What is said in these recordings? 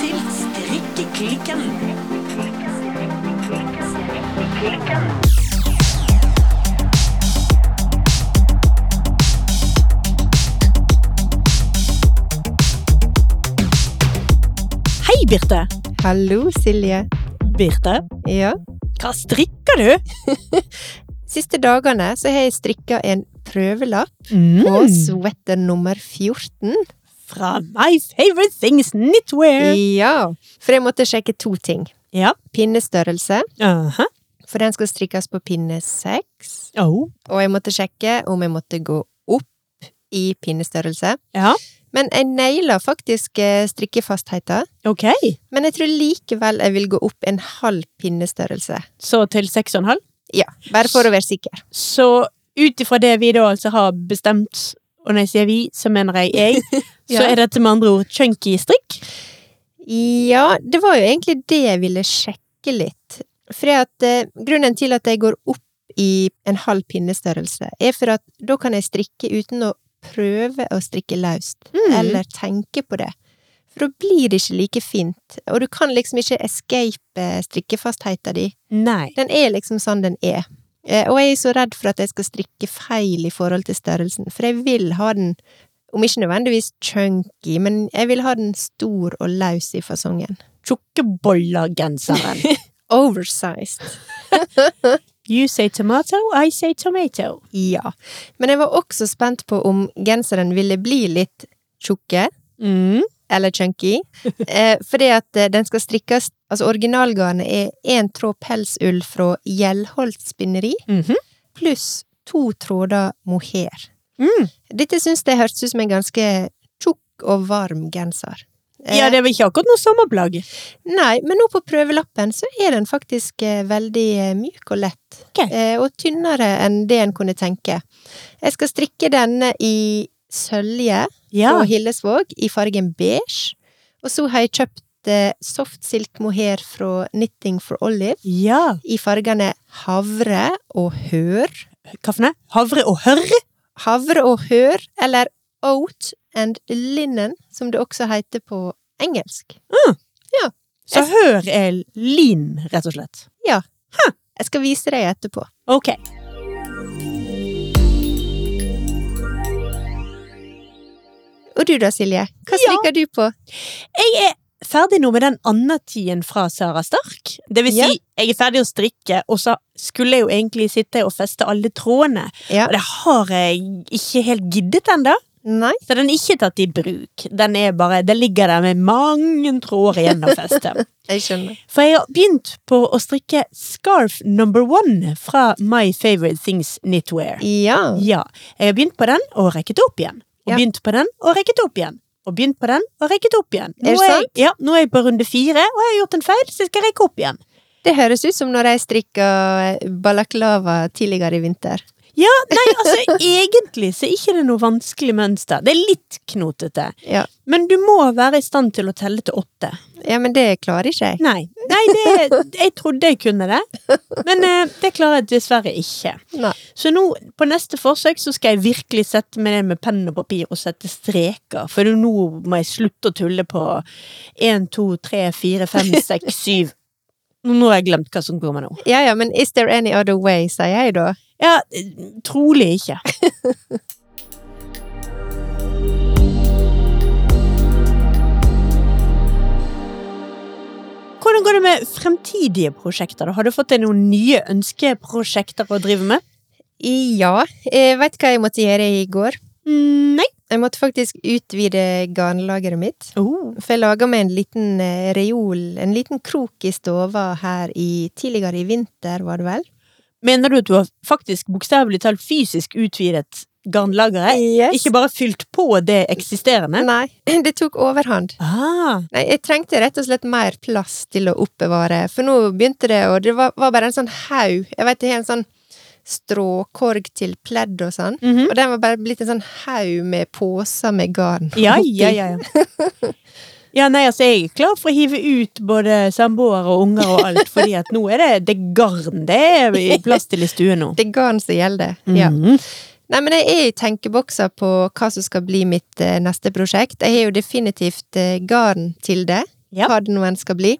til Strikkeklikken. Hei, Birte. Hallo, Silje. Birte, Ja. hva strikker du? Siste dagene så har jeg strikka en prøvelapp på Mm. sweater nummer 14. Fra My Favorite Things Knitwear. Ja. For jeg måtte sjekke to ting. Ja. Pinnestørrelse, Aha. for den skal strikkes på pinne 6. Oh. Og jeg måtte sjekke om jeg måtte gå opp i pinnestørrelse. Ja, Men jeg naila faktisk eh, strikkefastheten. ok. Men jeg tror likevel jeg vil gå opp en halv pinnestørrelse. Så til seks og en halv. Ja, bare for å være sikker. Så ut ifra det vi da altså har bestemt, og når jeg sier vi, så mener jeg jeg, så Ja. er dette med andre ord chunky strikk. Ja, det var jo egentlig det jeg ville sjekke litt. For at, eh, grunnen til at jeg går opp i en halv pinnestørrelse, er for at da kan jeg strikke uten å prøve å strikke løst, Mm. eller tenke på det. For da blir det ikke like fint, og du kan liksom ikke escape eh, strikkefastheten din. Nei. Den er liksom sånn den er. Eh, Og jeg er så redd for at jeg skal strikke feil i forhold til størrelsen, for jeg vil ha den, om ikke nødvendigvis chunky, men jeg vil ha den stor og løs i fasongen. Tjukkeboller-genseren. Oversized. You say tomato, I say tomato. Ja. Men jeg var også spent på om genseren ville bli litt tjukke, Mm. eller chunky, eh, fordi at eh, den skal strikkes Altså, originalgarnet er én tråd pelsull fra Gjellholt spinneri, Mhm. pluss to tråder mohair. Mm. Dette syns jeg hørtes ut som en ganske tjukk og varm genser. Eh, Ja, det er vel ikke akkurat noe sommerplagg. Nei, men nå på prøvelappen så er den faktisk eh, veldig eh, myk og lett. Ok. Eh, og tynnere enn det en kunne tenke. Jeg skal strikke denne i sølje Ja. på Hillesvåg i fargen beige. Og så har jeg kjøpt eh, soft silk mohair fra Knitting for Olive Ja. i fargene havre og hør. Hva for noe? Havre og hørr? Havre og hør, eller oat and linen, som det også heter på engelsk. Så hør er lin, rett og slett. Jeg skal vise deg etterpå. Ok. Og du da, Silje? Hva Ja. strikker du på? Jeg er ferdig nå med den andetiden fra Sara Stark. Det vil si, Ja. jeg er ferdig å strikke, og så skulle jeg jo egentlig sitte og feste alle trådene. Ja. Og det har jeg ikke helt giddet ennå. Nei? Så den er ikke tatt i bruk. Den er bare, den ligger der med mange tråder igjen å feste. Jeg skjønner. For jeg har begynt på å strikke scarf number one fra My Favorite Things Knitwear. Ja. Ja, jeg har begynt på den og rekket opp igjen. Og Ja. begynt på den og rekket opp igjen. Og begynt på den og rekket opp igjen. Er det sant? Jeg, ja, nå er jeg på runde fire, og jeg har gjort en feil, så jeg skal rekke opp igjen. Det høres ut som når jeg strikka balaklava tidligere i vinter. Ja, nei, altså egentlig så er ikke det noe vanskelig mønster. Det er litt knotete. Ja, Men du må være i stand til å telle til åtte. ja men det klarer ikke jeg. Nei, nei det, jeg trodde jeg kunne det, men eh, det klarer jeg dessverre ikke. Nei. Så nå, på neste forsøk, så skal jeg virkelig sette meg ned med penn og papir og sette streker, for nå må jeg slutte å tulle på 1, 2, 3, 4, 5, 6, 7. Nå har jeg glemt hva som går med nå. Ja ja, men is there any other way, sier jeg da. Ja, trolig ikke. Hvordan går det med fremtidige prosjekter? da? Har du fått deg noen nye ønskeprosjekter å drive med? Ja. Jeg vet hva jeg måtte gjøre i går. Mm, nei. Jeg måtte faktisk utvide garnlageret mitt. Oh. For jeg laga meg en liten eh, reol, en liten krok i stova her i tidligere i vinter, var det vel? Mener du at du har faktisk bokstavelig talt fysisk utvidet garnlageret? Ikke bare fylt på det eksisterende? Nei, det tok overhånd. Ah, Nei, jeg trengte rett og slett mer plass til å oppbevare, for nå begynte det, og det var, var bare en sånn haug. Jeg vet det er en sånn stråkorg til pledd og sånn, mhm. og den var bare blitt en sånn haug med poser med garn. Ja, oppi. ja, ja. ja. Ja, nei, altså Jeg er klar for å hive ut både samboere og unger og alt, fordi at nå er det, det er garn det er i plass til i stuen nå. Det er garn som gjelder. Ja. Mhm. Nei, men jeg er i tenkebokser på hva som skal bli mitt eh, neste prosjekt. Jeg har jo definitivt eh, garn til det. Ja. hva det nå enn skal bli.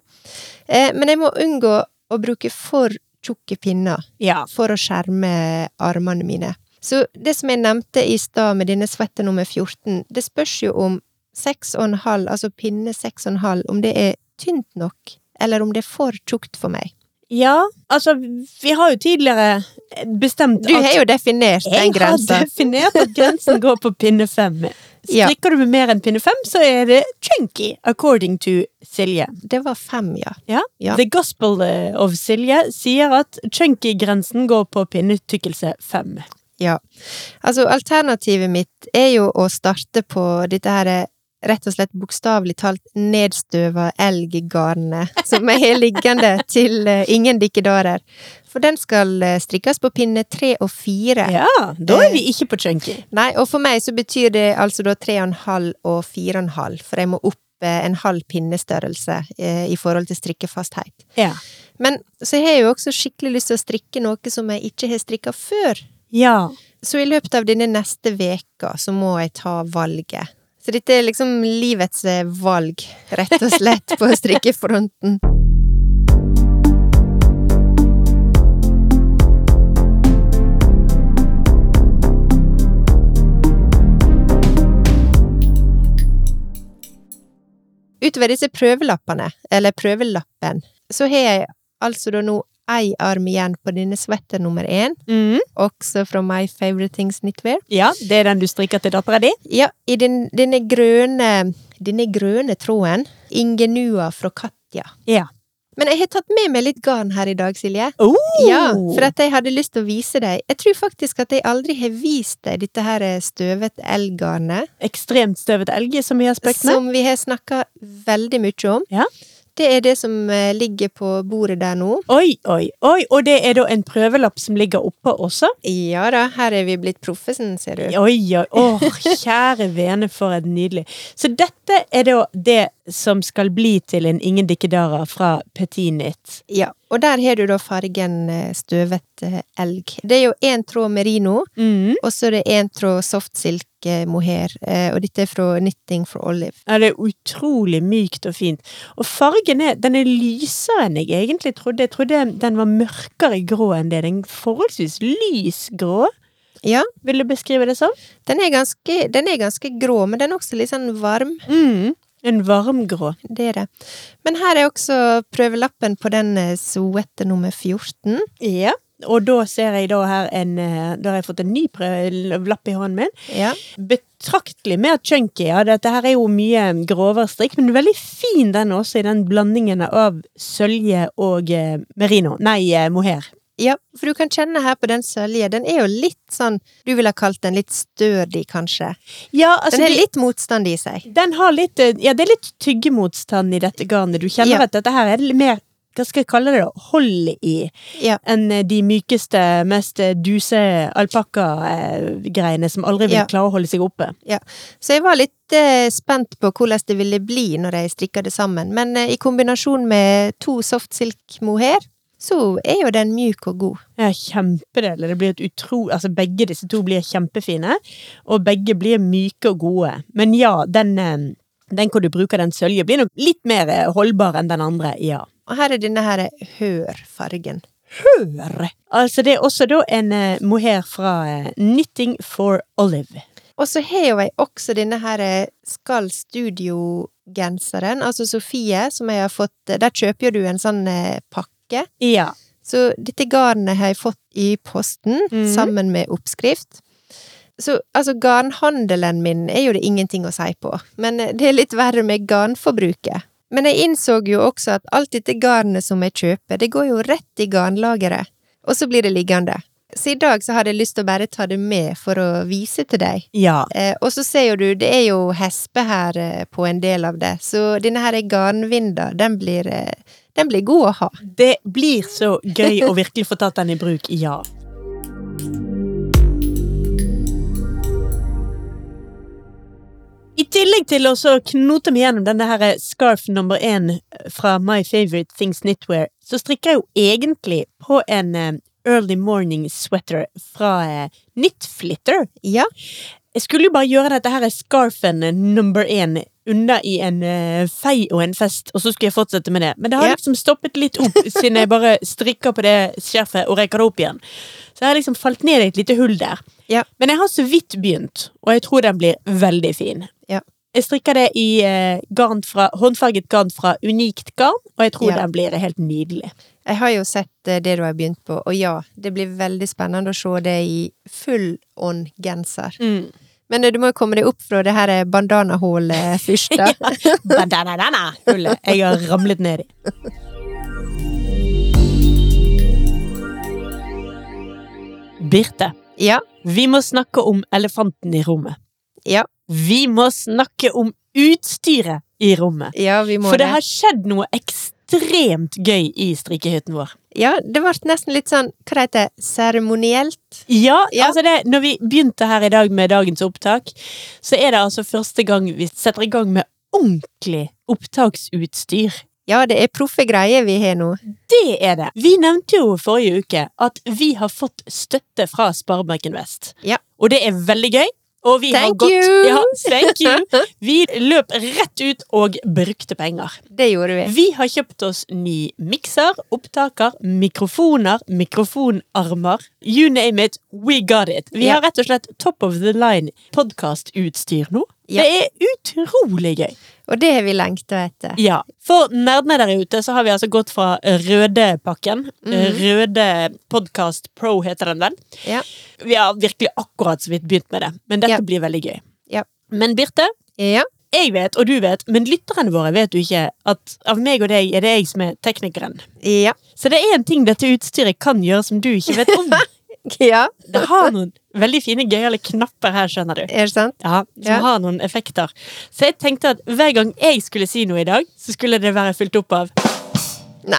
Eh, men jeg må unngå å bruke for tjukke pinner Ja. for å skjerme eh, armene mine. Så det som jeg nevnte i stad med denne sweater nummer 14, det spørs jo om 6,5, altså pinne 6,5, om det er tynt nok, eller om det er for tjukt for meg. ja. Altså, vi har jo tidligere bestemt Du har jo definert den grensa. Jeg har definert at grensen går på pinne fem. Ja. Strikker du med mer enn pinne fem, så er det chunky, according to Silje. Det var fem, ja. Ja? Ja. The Gospel eh, of Silje sier at chunky-grensen går på pinnetykkelse fem. Ja. Altså, alternativet mitt er jo å starte på dette her rett og slett bokstavelig talt nedstøva elggarnet som jeg har liggende til eh, ingen dikkedarer. For den skal eh, strikkes på pinne tre og fire. Ja, da er vi Eh. ikke på chunky. Nei, og for meg så betyr det altså da tre og en halv og fire og en halv, for jeg må opp eh, en halv pinnestørrelse eh, i forhold til strikkefasthet. Ja. Men så har jeg jo også skikkelig lyst til å strikke noe som jeg ikke har strikka før. Ja. Så i løpet av denne neste veka så må jeg ta valget. Så dette er liksom livets eh, valg, rett og slett, på strikkefronten. Utover disse prøvelappene, eller prøvelappen, så har jeg altså da nå ei arm igjen på denne sweater nummer én Mm. også fra My Favorite Things Knitwear. ja, det er den du strikker til dattera di? Ja, i den, denne grønne, denne grønne tråden. Ingenua fra Katja. Ja. Men jeg har tatt med meg litt garn her i dag, Silje. Oh! Ja, for at jeg hadde lyst til å vise deg. Jeg tror faktisk at jeg aldri har vist deg dette her støvete elgarnet, Ekstremt støvet elg i så mye aspekt med. som vi har snakka veldig mye om. Ja. Det er det som eh, ligger på bordet der nå. Oi, oi, oi! Og det er da en prøvelapp som ligger oppe også? Ja da, her er vi blitt proffesen, ser du. Oi, oi, åh, kjære vene, for et nydelig. Så dette er da det som skal bli til en Ingen Dikkedara fra Petit Knit. Ja, og der har du da fargen eh, støvet eh, elg. Det er jo én tråd merino, Mm. og så er det én tråd soft silk eh, mohair, eh, og dette er fra Knitting for Olive. Ja, det er utrolig mykt og fint. Og fargen er, den er lysere enn jeg egentlig trodde. Jeg trodde den var mørkere grå enn det. Den er forholdsvis lys grå. Ja, Vil du beskrive det som? den er ganske, den er ganske grå, men den er også litt sånn varm. Mm. En varmgrå. Det er det. Men her er også prøvelappen på den eh, sweater nummer 14. Ja. Og da ser jeg da her en eh, Da har jeg fått en ny prø- lapp i hånden min. Ja. betraktelig mer chunky. Ja, dette her er jo mye grovere strikk, men veldig fin den også, i den blandingen av sølje og eh, merino. Nei, eh, mohair. ja, for du kan kjenne her på den sølje, den er jo litt sånn, du ville ha kalt den litt stødig, kanskje. Ja, altså Den har de- litt motstand i seg. den har litt eh, Ja, det er litt tyggemotstand i dette garnet. Du kjenner Ja. at dette her er litt mer hva skal jeg kalle det? da? Hold i. Ja. Enn eh, de mykeste, mest eh, duse alpakkagreiene som aldri vil Ja. klare å holde seg oppe. Så jeg var litt eh, spent på hvordan det ville bli når jeg strikka det sammen, men eh, i kombinasjon med to soft silk mohair, så er jo den mjuk og god. Ja, kjempedel. Det blir et utro... Altså, begge disse to blir kjempefine, og begge blir myke og gode. Men ja, den, eh, den hvor du bruker den sølje, blir nok litt mer eh, holdbar enn den andre, ja. Og her er denne her hør-fargen. Hør! Altså, det er også da en eh, mohair fra eh, Knitting for Olive. Og så har jo jeg også denne her eh, Skall Studio-genseren, altså Sofie, som jeg har fått eh, Der kjøper jo du en sånn eh, pakke. Ja. Så dette garnet har jeg fått i posten, Mhm. sammen med oppskrift. Så altså, garnhandelen min er jo det ingenting å si på, men eh, det er litt verre med garnforbruket. Men jeg innså jo også at alt dette garnet som jeg kjøper, det går jo rett i garnlageret, og så blir det liggende. Så i dag så hadde jeg lyst til å bare ta det med for å vise til deg. Ja. Eh, og så ser jo du, det er jo hespe her eh, på en del av det, så denne her garnvinda, den blir, eh, den blir god å ha. Det blir så gøy å virkelig få tatt den i bruk, ja. I tillegg til å så knote meg gjennom denne her scarf nummer én fra My Favorite Things Knitwear, så strikker jeg jo egentlig på en eh, early morning sweater fra eh, Knitflitter. Ja. Jeg skulle jo bare gjøre dette her scarfen eh, number én unna i en eh, fei og en fest, og så skulle jeg fortsette med det. Men det har Ja. liksom stoppet litt opp, siden jeg bare strikker på det skjerfet og rekker det opp igjen. Så jeg har liksom falt ned i et lite hull der. Ja. Men jeg har så vidt begynt, og jeg tror den blir veldig fin. Ja. Jeg strikker det i eh, garn fra, håndfarget garn fra Unikt Garn, og jeg tror Ja. den blir helt nydelig. Jeg har jo sett eh, det du har begynt på, og ja, det blir veldig spennende å se det i full on genser. Men eh, du må jo komme deg opp fra det her eh, bandanahullet først, da. Bandana-hullet jeg har ramlet ned i. Birte, Ja, vi må snakke om elefanten i rommet. ja, Vi må snakke om utstyret i rommet. ja, vi må For det har skjedd noe ekstremt gøy i strikkehytten vår. Ja, det ble nesten litt sånn, hva det heter, seremonielt. Ja, Ja. altså det, når vi begynte her i dag med dagens opptak, så er det altså første gang vi setter i gang med ordentlig opptaksutstyr. Ja, det er proffe greier vi har nå. Det er det. Vi nevnte jo forrige uke at vi har fått støtte fra Sparebanken Vest. Ja. Og det er veldig gøy. Og vi har Thank gått, you! Ja, thank you! Sånn. Vi løp rett ut og brukte penger. Det gjorde vi. Vi har kjøpt oss ny mikser, opptaker, mikrofoner, mikrofonarmer. You name it, we got it. Vi Ja. har rett og slett top of the line podkastutstyr nå. Ja. Det er utrolig gøy. Og det har vi lengta etter. Ja, For nerdene der ute så har vi altså gått fra Røde-pakken. Røde Podcast Pro heter den vel. Mhm. Ja. Vi har virkelig akkurat så vidt begynt med det, men dette Ja. blir veldig gøy. Ja. Men Birte, Ja, jeg vet, og du vet, men lytterne våre vet jo ikke at av meg og deg er det jeg som er teknikeren. ja, Så det er en ting dette utstyret kan gjøre som du ikke vet om. ja. Det har noen veldig fine gøyale knapper her, skjønner du. Er det sant? Ja, Som Ja. har noen effekter. Så jeg tenkte at hver gang jeg skulle si noe i dag, så skulle det være fylt opp av Nei.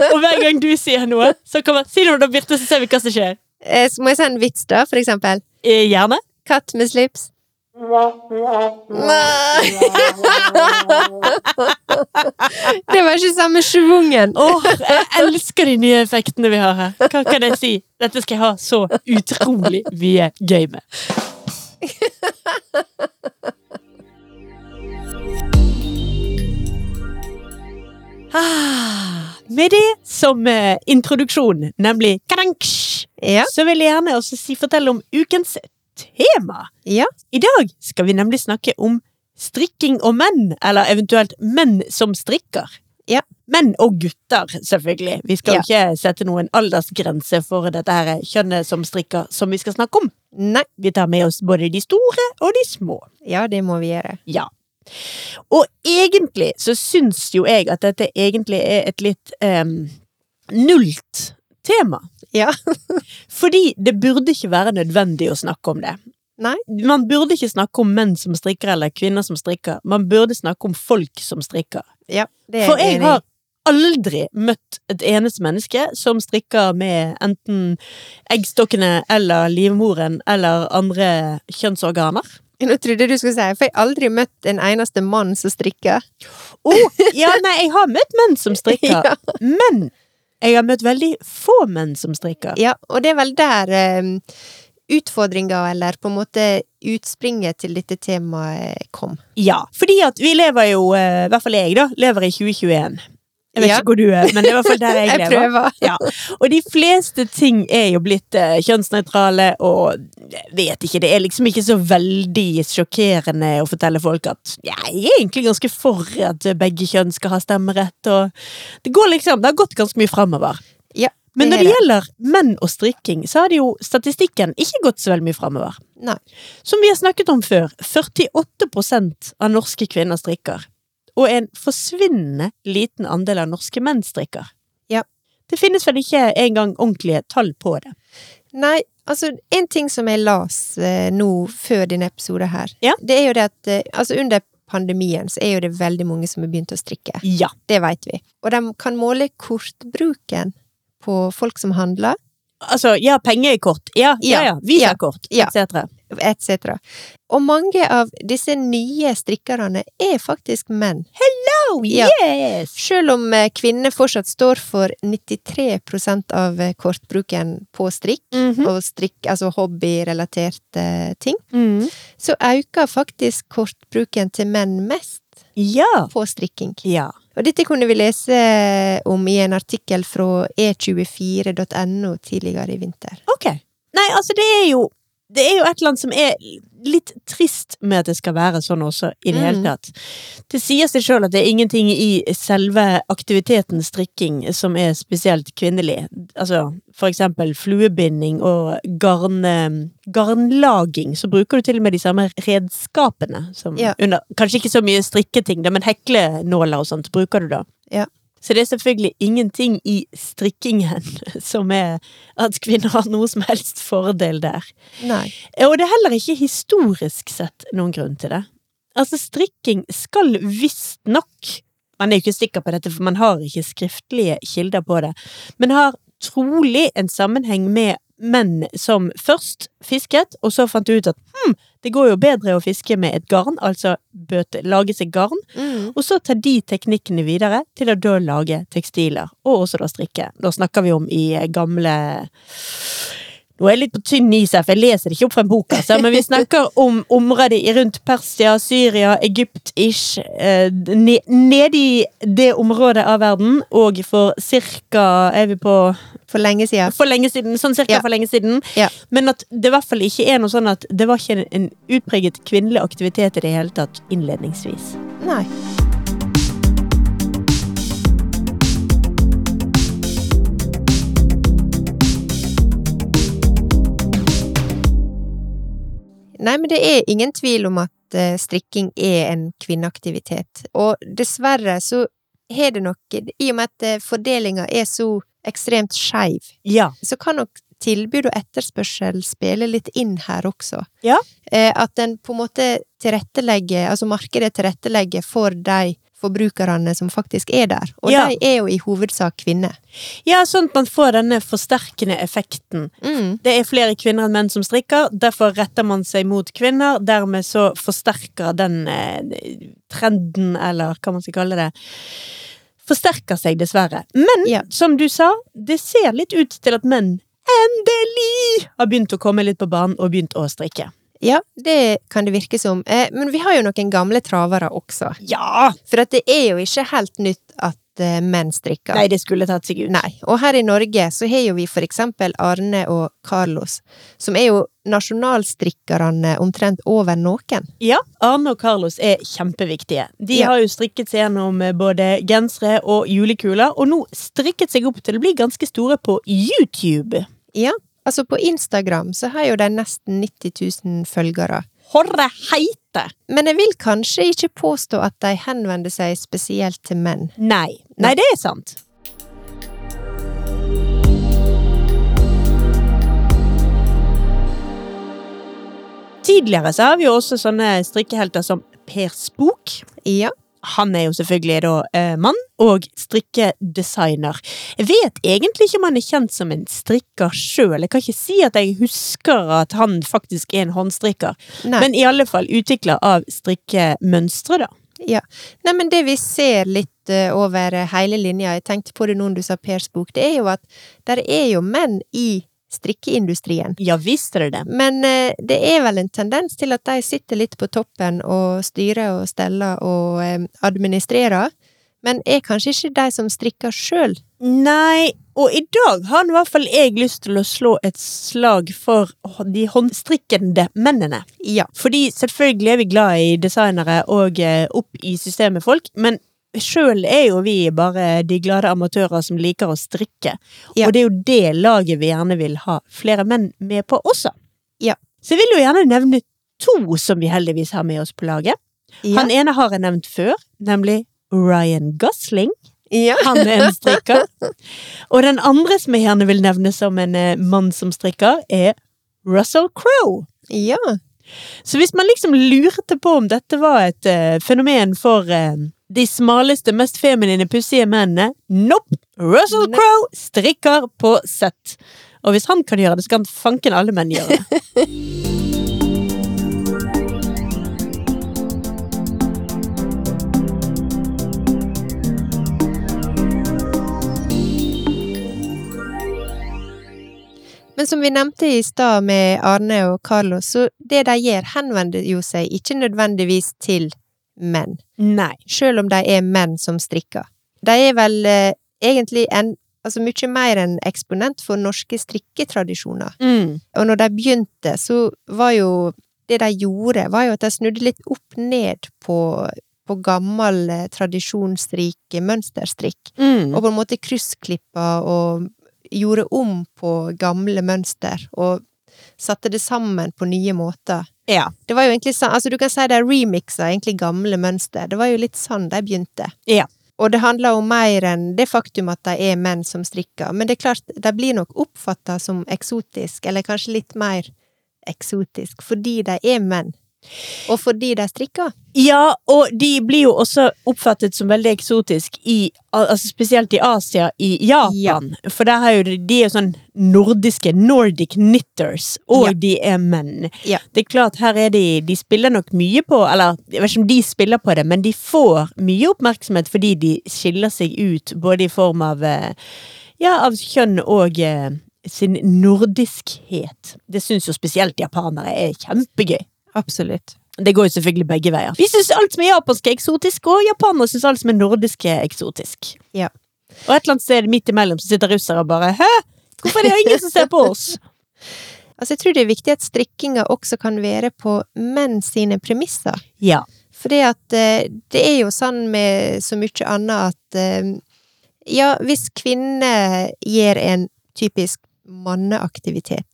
Og hver gang du sier noe, så kommer Si noe da, Birte, så ser vi hva som skjer. Eh, så Må jeg si en vits, da, for eksempel? Eh, Gjerne. Katt med slips. Nei! Det var ikke samme schwungen. Åh, jeg elsker de nye effektene vi har her. Hva kan jeg si? Dette skal jeg ha så utrolig mye gøy med. Ah, med det som eh, introduksjon, nemlig kadanksj, Ja, så vil jeg gjerne også si, fortelle om ukens tema. ja, I dag skal vi nemlig snakke om strikking og menn, eller eventuelt menn som strikker. Ja. Menn og gutter, selvfølgelig. Vi skal jo ikke sette noen aldersgrense for dette her kjønnet som strikker som vi skal snakke om. nei. Vi tar med oss både de store og de små. Ja, det må vi gjøre. Ja. Og egentlig så syns jo jeg at dette egentlig er et litt em, nullt tema. Ja. Fordi det burde ikke være nødvendig å snakke om det. Nei. Man burde ikke snakke om menn som strikker eller kvinner som strikker. Man burde snakke om folk som strikker. Ja, det er For jeg enig. har aldri møtt et eneste menneske som strikker med enten eggstokkene eller livmoren eller andre kjønnsorganer. Nå trodde jeg du skulle si For jeg har aldri møtt en eneste mann som strikker. Oh, ja, nei, jeg har møtt menn som strikker, Ja. men jeg har møtt veldig få menn som strikker. Ja, og det er vel der um, utfordringa, eller på en måte utspringet til dette temaet, kom. Ja, fordi at vi lever jo, eh, i hvert fall jeg da, lever i 2021. Jeg vet Ja. ikke hvor du er, men det er i hvert fall der jeg, Jeg lever. prøver. Ja. Og de fleste ting er jo blitt eh, kjønnsnøytrale, og jeg vet ikke, det er liksom ikke så veldig sjokkerende å fortelle folk at ja, jeg er egentlig ganske for at begge kjønn skal ha stemmerett, og det går liksom, det har gått ganske mye framover. Ja, Men det når det er gjelder menn og strikking, så har det jo statistikken ikke gått så veldig mye framover. Nei. Som vi har snakket om før, 48 av norske kvinner strikker. Og en forsvinnende liten andel av norske menn strikker. Ja. Det finnes vel ikke engang ordentlige tall på det. Nei, altså en ting som jeg las eh, nå før denne episoden her, Ja. det er jo det at eh, altså under pandemien så er jo det veldig mange som har begynt å strikke. Ja. Det vet vi. Og de kan måle kortbruken på folk som handler, Altså, ja, pengekort. Ja, ja, Ja, ja. Visakort, ja. etc. etc. Og mange av disse nye strikkerne er faktisk menn. Oh, Ja. yes! Selv om eh, kvinner fortsatt står for 93 av eh, kortbruken på strikk, Mhm. og strikk, altså hobbyrelaterte eh, ting, Mm. så øker faktisk kortbruken til menn mest Ja. på strikking. Ja. Og dette kunne vi lese eh, om i en artikkel fra e e24.no tidligere i vinter. Ok. Nei, altså, det er jo det er jo et eller annet som er litt trist med at det skal være sånn også, i det Mm. hele tatt. Det sier seg sjøl at det er ingenting i selve aktiviteten strikking som er spesielt kvinnelig. Altså, for eksempel fluebinding og garn, garnlaging, så bruker du til og med de samme redskapene som Ja. under Kanskje ikke så mye strikketing, da, men heklenåler og sånt bruker du da. Ja. Så det er selvfølgelig ingenting i strikkingen som er at kvinner har noe som helst fordel der. Nei. Eh, Og det er heller ikke historisk sett noen grunn til det. Altså, strikking skal visstnok Man er jo ikke sikker på dette, for man har ikke skriftlige kilder på det, men har trolig en sammenheng med menn som først fisket, og så fant ut at hm, det går jo bedre å fiske med et garn, altså bøte, lage seg garn, Mm. og så tar de teknikkene videre til å da lage tekstiler, og også da strikke. Da snakker vi om i eh, gamle Nå er jeg litt på tynn is her, for jeg leser det ikke opp fra en bok, altså, men vi snakker om området i- rundt Persia, Syria, Egypt-ish, eh, ne- nede i det området av verden, og for cirka Er vi på For lenge siden. for lenge siden, sånn cirka Ja. for lenge siden. Ja. Men at det i hvert fall ikke er noe sånn at det var ikke en, en utpreget kvinnelig aktivitet i det hele tatt innledningsvis. Nei. Nei, men det er ingen tvil om at eh, strikking er en kvinneaktivitet. Og dessverre så har det nok I og med at eh, fordelinga er så ekstremt skeiv, Ja. så kan nok tilbud og etterspørsel spille litt inn her også. Ja. Eh, at en på en måte tilrettelegger, altså markedet tilrettelegger for de forbrukerne som faktisk er der. Og Ja. de er jo i hovedsak kvinner. Ja, sånn at man får denne forsterkende effekten. Det er flere kvinner enn menn som strikker, derfor retter man seg mot kvinner. Dermed så forsterker den eh, trenden, eller hva man skal kalle det, forsterker seg dessverre. Men Ja. som du sa, det ser litt ut til at menn endelig har begynt å komme litt på banen og begynt å strikke. Ja, det kan det virke som. Eh, men vi har jo noen gamle travere også. Ja! For at det er jo ikke helt nytt at eh, menn strikker. Nei, det skulle tatt seg ut. Nei. Og her i Norge så har jo vi for eksempel Arne og Carlos, som er jo nasjonalstrikkerne omtrent over noen. Ja, Arne og Carlos er kjempeviktige. De Ja. har jo strikket seg gjennom eh, både gensere og julekuler, og nå strikket seg opp til å bli ganske store på YouTube. Ja, altså på Instagram så har jo de nesten 90 000 følgere. Horre heite! Men jeg vil kanskje ikke påstå at de henvender seg spesielt til menn. Nei. Nei, Nei. det er sant. Tidligere så har vi jo også sånne strikkehelter som Per Spook. Ja, Han er jo selvfølgelig da eh, mann og strikkedesigner. Jeg vet egentlig ikke om han er kjent som en strikker sjøl. Jeg kan ikke si at jeg husker at han faktisk er en håndstrikker, nei. men i alle fall utvikler av strikkemønstre, da. ja. nei, men det vi ser litt eh, over hele linja, jeg tenkte på det nå du sa Pers bok, det er jo at der er jo menn i strikkeindustrien. Ja visst er det det. Men eh, det er vel en tendens til at de sitter litt på toppen og styrer og steller og eh, administrerer, men er kanskje ikke de som strikker sjøl. Nei, og i dag har i hvert fall jeg lyst til å slå et slag for de håndstrikkende mennene. Ja. Fordi selvfølgelig er vi glad i designere og eh, opp i systemet folk, men sjøl er jo vi bare de glade amatører som liker å strikke. Ja. Og det er jo det laget vi gjerne vil ha flere menn med på også. Ja. Så jeg vil jo gjerne nevne to som vi heldigvis har med oss på laget. Ja. Han ene har jeg nevnt før, nemlig Ryan Gosling. ja. Han er en strikker. Og den andre som jeg gjerne vil nevne som en eh, mann som strikker, er Russell Crowe. Ja. Så hvis man liksom lurte på om dette var et eh, fenomen for eh, de smaleste, mest feminine, pussige mennene Nope! Russell Nei. Crowe strikker på sett. Og hvis han kan gjøre det, så kan fanken alle menn gjøre det. Men som vi nevnte i stad med Arne og Carlos, så det de gjør, henvender jo seg ikke nødvendigvis til menn, Nei. selv om de er menn som strikker. De er vel eh, egentlig en, altså mye mer en eksponent for norske strikketradisjoner. Mm. Og når de begynte, så var jo det de gjorde, var jo at de snudde litt opp ned på, på gammel eh, tradisjonsrik eh, mønsterstrikk Mm. og på en måte kryssklippa og gjorde om på gamle mønster, og satte det sammen på nye måter. Ja. Det var jo egentlig sånn, altså du kan si de remixa egentlig gamle mønster, det var jo litt sånn de begynte. Ja. Og det handler om mer enn det faktum at de er menn som strikker, men det er klart, de blir nok oppfatta som eksotisk, eller kanskje litt mer eksotisk, fordi de er menn, og fordi de strikker. Ja, og de blir jo også oppfattet som veldig eksotisk i al- altså Spesielt i Asia, i Japan. For der har jo de, de er jo sånn nordiske Nordic knitters, og Ja. de er menn. Ja. Det er klart, her er de De spiller nok mye på Eller jeg vet ikke om de spiller på det, men de får mye oppmerksomhet fordi de skiller seg ut, både i form av eh, Ja, av kjønn og eh, sin nordiskhet. Det syns jo spesielt japanere er kjempegøy. Absolutt. Det går jo selvfølgelig begge veier. Vi syns alt som er japansk er eksotisk, og japanere syns alt som er nordisk er eksotisk. Ja. Og et eller annet sted midt imellom så sitter russere og bare Hæ? Hvorfor er det ingen som ser på oss? Altså, jeg tror det er viktig at strikkinga også kan være på menn sine premisser. Ja. Fordi at eh, det er jo sånn med så mye annet at eh, Ja, hvis kvinner gjør en typisk manneaktivitet,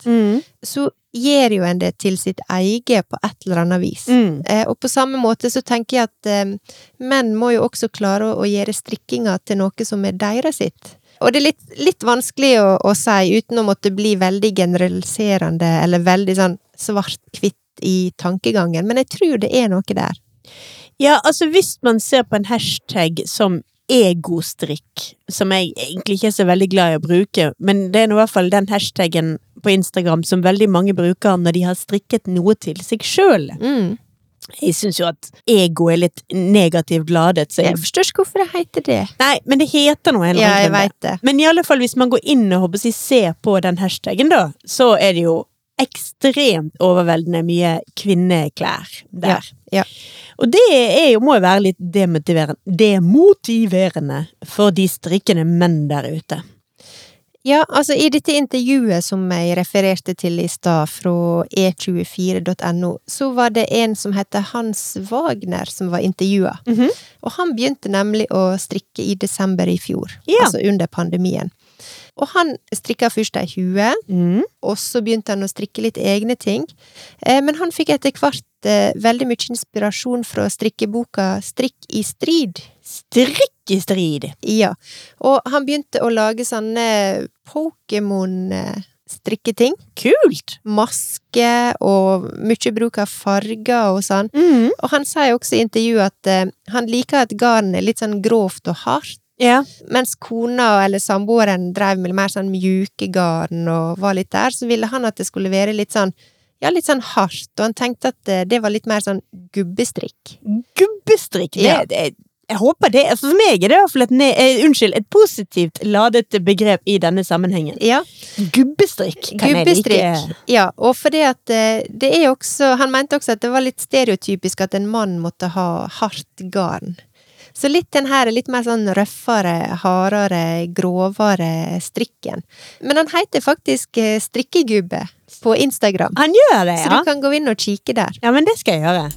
så gjør jo en det til sitt eget på et eller annet vis. Mm. Eh, og på samme måte så tenker jeg at eh, menn må jo også klare å, å gjøre strikkinga til noe som er deres sitt. Og det er litt, litt vanskelig å, å si uten å måtte bli veldig generaliserende eller veldig sånn svart-hvitt i tankegangen, men jeg tror det er noe der. ja, altså hvis man ser på en hashtag som egostrikk, som jeg egentlig ikke er så veldig glad i å bruke, men det er nå i hvert fall den hashtagen på Instagram som veldig mange bruker når de har strikket noe til seg sjøl. Mm. Jeg syns jo at ego er litt negativt ladet, så jeg Jeg forstår ikke hvorfor det heter det. Nei, men det heter noe. en eller Ja, annen jeg grunn. veit det. Men i alle fall hvis man går inn og håper å si, ser på den hashtagen, da, så er det jo ekstremt overveldende mye kvinneklær der. Ja, ja. Og det er jo, må jo være litt demotiverende, demotiverende for de strikkende menn der ute. Ja, altså i dette intervjuet som jeg refererte til i stad, fra e e24.no, så var det en som heter Hans Wagner som var intervjua. Mhm. Og han begynte nemlig å strikke i desember i fjor, Ja. altså under pandemien. Og han strikka først ei hue, Mm. og så begynte han å strikke litt egne ting. Eh, men han fikk etter hvert eh, veldig mye inspirasjon fra strikkeboka Strikk i strid. Strikk i strid! Ja, og han begynte å lage sånne Pokémon-strikketing. Kult! Maske og mye bruk av farger og sånn. Mhm. Og han sier også i intervjuet at eh, han liker at garnet er litt sånn grovt og hardt, Ja. mens kona eller samboeren drev med mer sånn mjuke garn og var litt der, så ville han at det skulle være litt sånn ja, litt sånn hardt, og han tenkte at eh, det var litt mer sånn gubbestrikk. Gubbestrikk, det, Ja. det jeg håper det For meg er det i hvert fall et, ne eh, unnskyld, et positivt ladet begrep i denne sammenhengen. Ja, Gubbestrikk kan jeg Gubbestrikk. like. Ja, og fordi at eh, det er også Han mente også at det var litt stereotypisk at en mann måtte ha hardt garn. Så litt den her er litt mer sånn røffere, hardere, grovere strikken. Men han heter faktisk eh, Strikkegubbe på Instagram, Han gjør det, så ja. du kan gå inn og kikke der. Ja, men det skal jeg gjøre.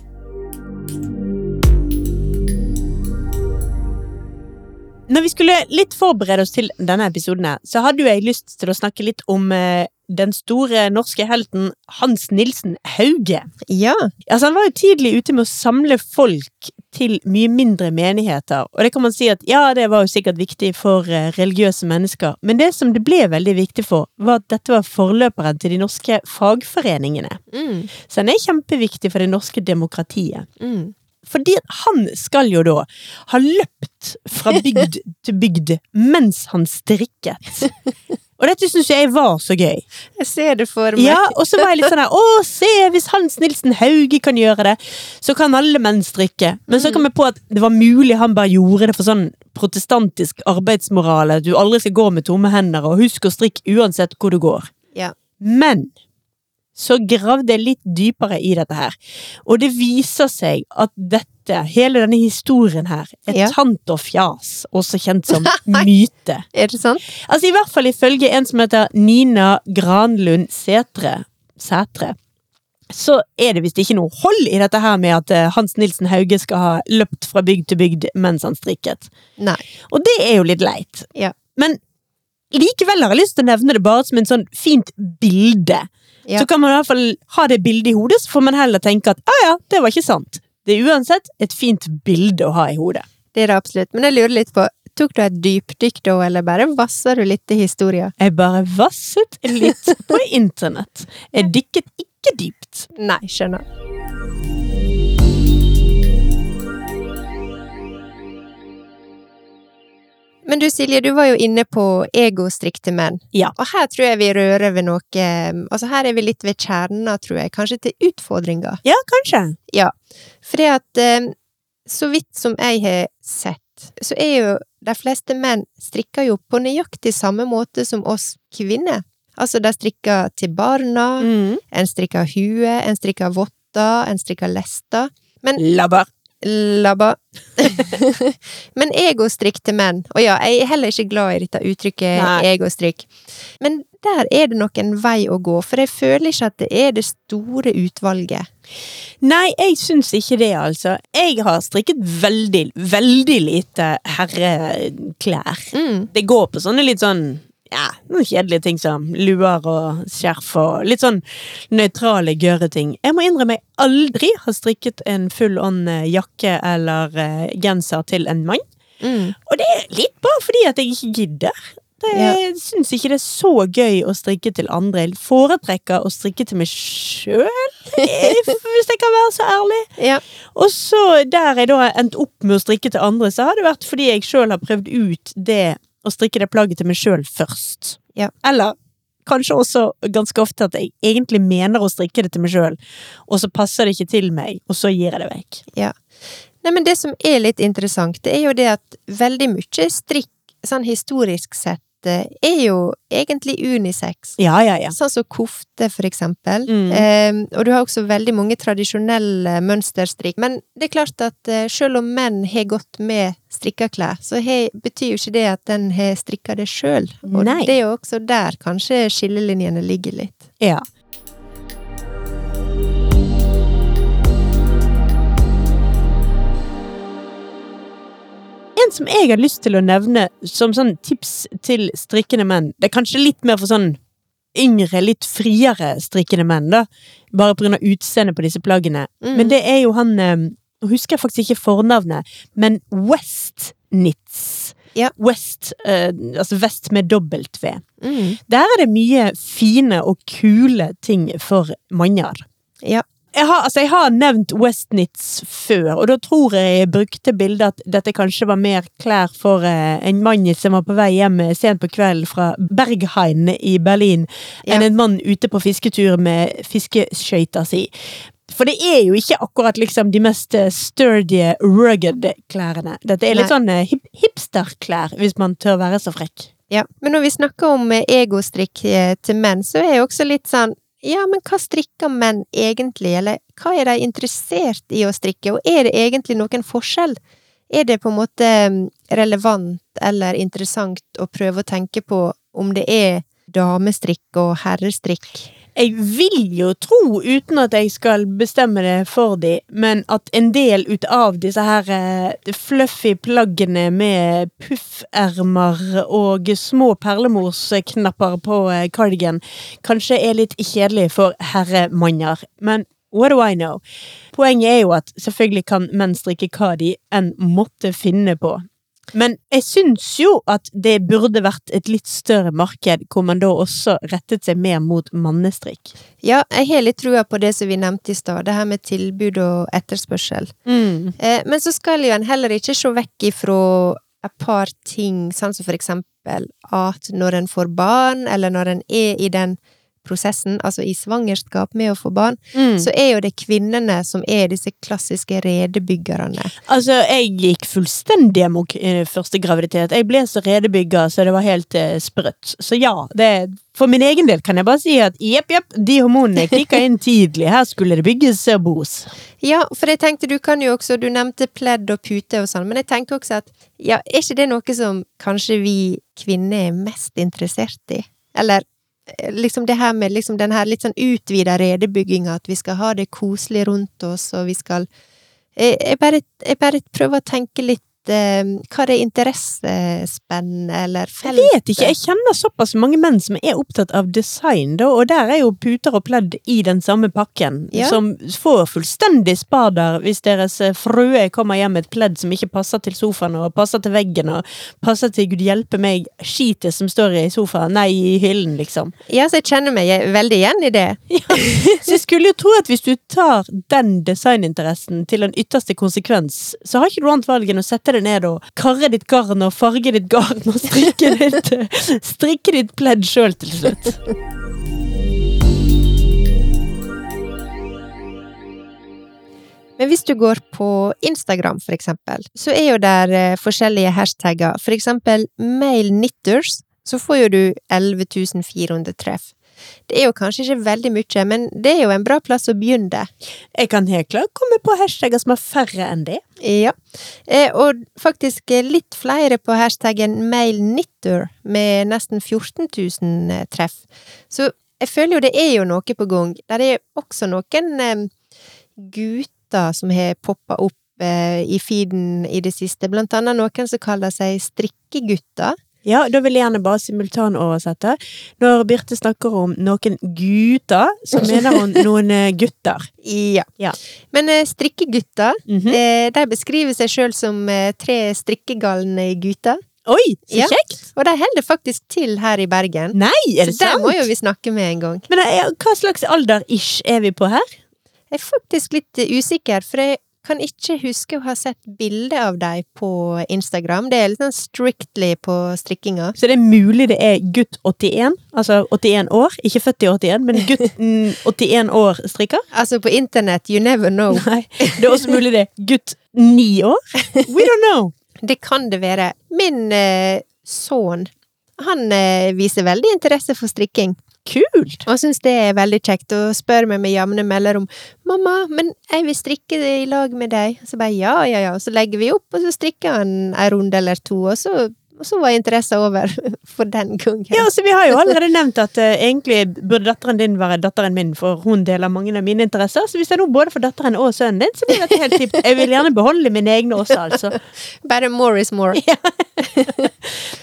Når vi skulle litt forberede oss til denne episoden, her, så hadde jo jeg lyst til å snakke litt om eh, den store norske helten Hans Nilsen Hauge. Ja. Altså, han var jo tidlig ute med å samle folk til mye mindre menigheter, og det kan man si at ja, det var jo sikkert viktig for eh, religiøse mennesker, men det som det ble veldig viktig for, var at dette var forløperen til de norske fagforeningene. Mm. Så han er kjempeviktig for det norske demokratiet. Mm. Fordi at han skal jo da ha løpt fra bygd til bygd mens han strikket. Og dette syns jeg var så gøy. Jeg ser det for meg. Ja, Og så var jeg litt sånn her Å, se, hvis Hans Nilsen Hauge kan gjøre det, så kan alle menn strikke. Men så kom jeg på at det var mulig han bare gjorde det for sånn protestantisk arbeidsmoral. At du aldri skal gå med tomme hender, og husk å strikke uansett hvor du går. Ja. Men så gravde jeg litt dypere i dette her. Og det viser seg at dette, hele denne historien her, er Ja. tant og fjas, også kjent som myte. Er det sant? Altså I hvert fall ifølge en som heter Nina Granlund Sætre, Sætre så er det visst ikke noe hold i dette her med at eh, Hans Nilsen Hauge skal ha løpt fra bygd til bygd mens han strikket. Nei. Og det er jo litt leit. Ja. Men likevel har jeg lyst til å nevne det bare som en sånn fint bilde. Ja. Så kan man i hvert fall ha det bildet i hodet, så får man heller tenke at «Ah ja ja, det var ikke sant. Det er uansett et fint bilde å ha i hodet. Det er det absolutt. Men jeg lurer litt på, tok du et dypdykk da, eller bare vasser du litt i historien? Jeg bare vasset litt på internett. Jeg dykket ikke dypt. Nei, skjønner. Men du Silje, du var jo inne på egostrikk til menn. Ja. Og her tror jeg vi rører ved noe Altså her er vi litt ved kjernen, tror jeg. Kanskje til utfordringa. Ja, kanskje. Fordi at eh, så vidt som jeg har sett, så er jo de fleste menn strikker jo på nøyaktig samme måte som oss kvinner. Altså de strikker til barna, Mm. en strikker hue, en strikker votter, en strikker lester. Labber. Labba. Men egostrikk til menn. Og ja, jeg er heller ikke glad i dette uttrykket Nei. egostrikk. Men der er det nok en vei å gå, for jeg føler ikke at det er det store utvalget. Nei, jeg syns ikke det, altså. Jeg har strikket veldig, veldig lite herreklær. Det går på sånne litt sånn ja, noen kjedelige ting som luer og skjerf og litt sånn nøytrale, gørre ting. Jeg må innrømme jeg aldri har strikket en full on eh, jakke eller eh, genser til en mann. Mm. Og det er litt bare fordi at jeg ikke gidder. Det, Ja. Jeg syns ikke det er så gøy å strikke til andre. Jeg foretrekker å strikke til meg sjøl, hvis jeg kan være så ærlig. Ja. Og så der jeg da har endt opp med å strikke til andre, så har det vært fordi jeg sjøl har prøvd ut det å strikke det plagget til meg sjøl først. Ja. Eller kanskje også ganske ofte at jeg egentlig mener å strikke det til meg sjøl, og så passer det ikke til meg, og så gir jeg det vekk. Nei, men det som er litt interessant, det er jo det at veldig mye strikk, sånn historisk sett, eh, er jo egentlig unisex. Ja, ja, ja. Sånn som kofte, for eksempel. Mm. Eh, og du har også veldig mange tradisjonelle mønsterstrikk. Men det er klart at eh, selv om menn har gått med strikka klær, så har, betyr jo ikke det at den har strikka det sjøl. Og Nei. det er jo også der kanskje skillelinjene ligger litt. ja. En som jeg har lyst til å nevne som sånn tips til strikkende menn Det er kanskje litt mer for sånn yngre, litt friere strikkende menn, da. Bare på grunn av utseendet på disse plaggene. Mm. Men det er jo han eh, Nå husker jeg faktisk ikke fornavnet, men West Nitz. Ja. West, eh, altså Vest med dobbelt V. Mm. Der er det mye fine og kule ting for manner. Ja. Jeg har, altså jeg har nevnt Westnitz før, og da tror jeg jeg brukte bildet at dette kanskje var mer klær for eh, en mann som var på vei hjem eh, sent på kvelden fra Berghain i Berlin, Ja. enn en mann ute på fisketur med fiskeskøyta si. For det er jo ikke akkurat liksom de mest eh, sturdy, rugged klærne. Dette er litt Nei. sånn eh, hip hipsterklær, hvis man tør være så frekk. Ja, men når vi snakker om eh, egostrikk eh, til menn, så er jeg også litt sånn ja, men hva strikker menn egentlig, eller hva er de interessert i å strikke, og er det egentlig noen forskjell? Er det på en måte mm, relevant eller interessant å prøve å tenke på om det er damestrikk og herrestrikk? Jeg vil jo tro, uten at jeg skal bestemme det for de, men at en del ut av disse her eh, fluffy plaggene med puffermer og små perlemorsknapper på eh, cardigan, kanskje er litt kjedelig for herremanner. Men what do I know? Poenget er jo at selvfølgelig kan menn strikke hva de enn måtte finne på. Men jeg syns jo at det burde vært et litt større marked, hvor man da også rettet seg mer mot mannestrikk. Ja, jeg har litt trua på det som vi nevnte i stad, det her med tilbud og etterspørsel. Eh, Men så skal jo en heller ikke se vekk ifra et par ting, sånn som for eksempel at når en får barn, eller når en er i den prosessen, altså i svangerskap med å få barn, Mm. så er jo det kvinnene som er disse klassiske redebyggerne. Altså, jeg gikk fullstendig amok eh, første graviditet. Jeg ble så redebygga, så det var helt eh, sprøtt. Så ja, det, for min egen del kan jeg bare si at jepp, jepp, de hormonene kicka inn tidlig. Her skulle det bygges og bos. Ja, for jeg tenkte du kan jo også, du nevnte pledd og pute og sånn, men jeg tenkte også at ja, er ikke det noe som kanskje vi kvinner er mest interessert i? Eller eh, liksom det her med liksom den her litt sånn utvida redebygginga, at vi skal ha det koselig rundt oss, og vi skal Jeg, jeg, bare, jeg bare prøver å tenke litt eh, hva det er interessespenn eller felt Jeg vet ikke, jeg kjenner såpass mange menn som er opptatt av design, da, og der er jo puter og pledd i den samme pakken, Ja. som får fullstendig spader hvis deres eh, frue kommer hjem med et pledd som ikke passer til sofaen, og passer til veggen, og passer til gud hjelpe meg skitet som står i sofaen, nei, i hyllen, liksom. Ja, så jeg kjenner meg je- veldig igjen i det. Så jeg skulle jo tro at hvis du tar den designinteressen til den ytterste konsekvens, så har ikke du annet valg enn å sette deg ned og karre ditt garn og farge ditt garn og strikke ditt, strikke ditt pledd sjøl til slutt. Men hvis du går på Instagram, for eksempel, så er jo der eh, forskjellige hashtagger. For eksempel male knitters, så får jo du 11.400 treff. Det er jo kanskje ikke veldig mye, men det er jo en bra plass å begynne. Jeg kan helt klart komme på hashtagger som er færre enn det. Ja. Eh, Og faktisk eh, litt flere på hashtaggen male knitter, med nesten 14.000 treff. Så jeg føler jo det er jo noe på gang. Der er også noen eh, gutter som har poppa opp eh, i feeden i det siste. Blant annet noen som kaller seg strikkegutter. Ja, da vil jeg gjerne bare simultanoversette. Når Birte snakker om noen gutter, så mener hun noen eh, gutter. Ja. Ja. Men eh, strikkegutter, Mhm. eh, de beskriver seg sjøl som eh, tre strikkegalne gutter. Oi, så Ja. kjekt! Og de holder faktisk til her i Bergen. Nei, er det Så der sant? må jo vi snakke med en gang. Men eh, hva slags alder-ish er vi på her? Jeg er faktisk litt eh, usikker, for jeg kan ikke huske å ha sett bilde av deg på Instagram. Det er litt sånn strictly på strikkinga. Så det er mulig det er gutt 81, altså 81 år, ikke født i 81, men gutt mm, 81 år strikker. Altså, på internett, you never know. Nei, det er også mulig det er gutt 9 år. We don't know. Det kan det være. Min eh, sønn, han eh, viser veldig interesse for strikking. Kult! Og syns det er veldig kjekt, og spør meg med jevne mellomrom 'Mamma, men jeg vil strikke i lag med deg.' Så bare ja, ja, ja. Og så legger vi opp, og så strikker han en runde eller to, og så, og så var interessen over for den gangen. Ja, så Vi har jo allerede nevnt at eh, egentlig burde datteren din være datteren min, for hun deler mange av mine interesser. Så hvis jeg nå både får datteren og sønnen din, så blir dette helt tipp. Jeg vil gjerne beholde mine egne også, altså. Bare more is more.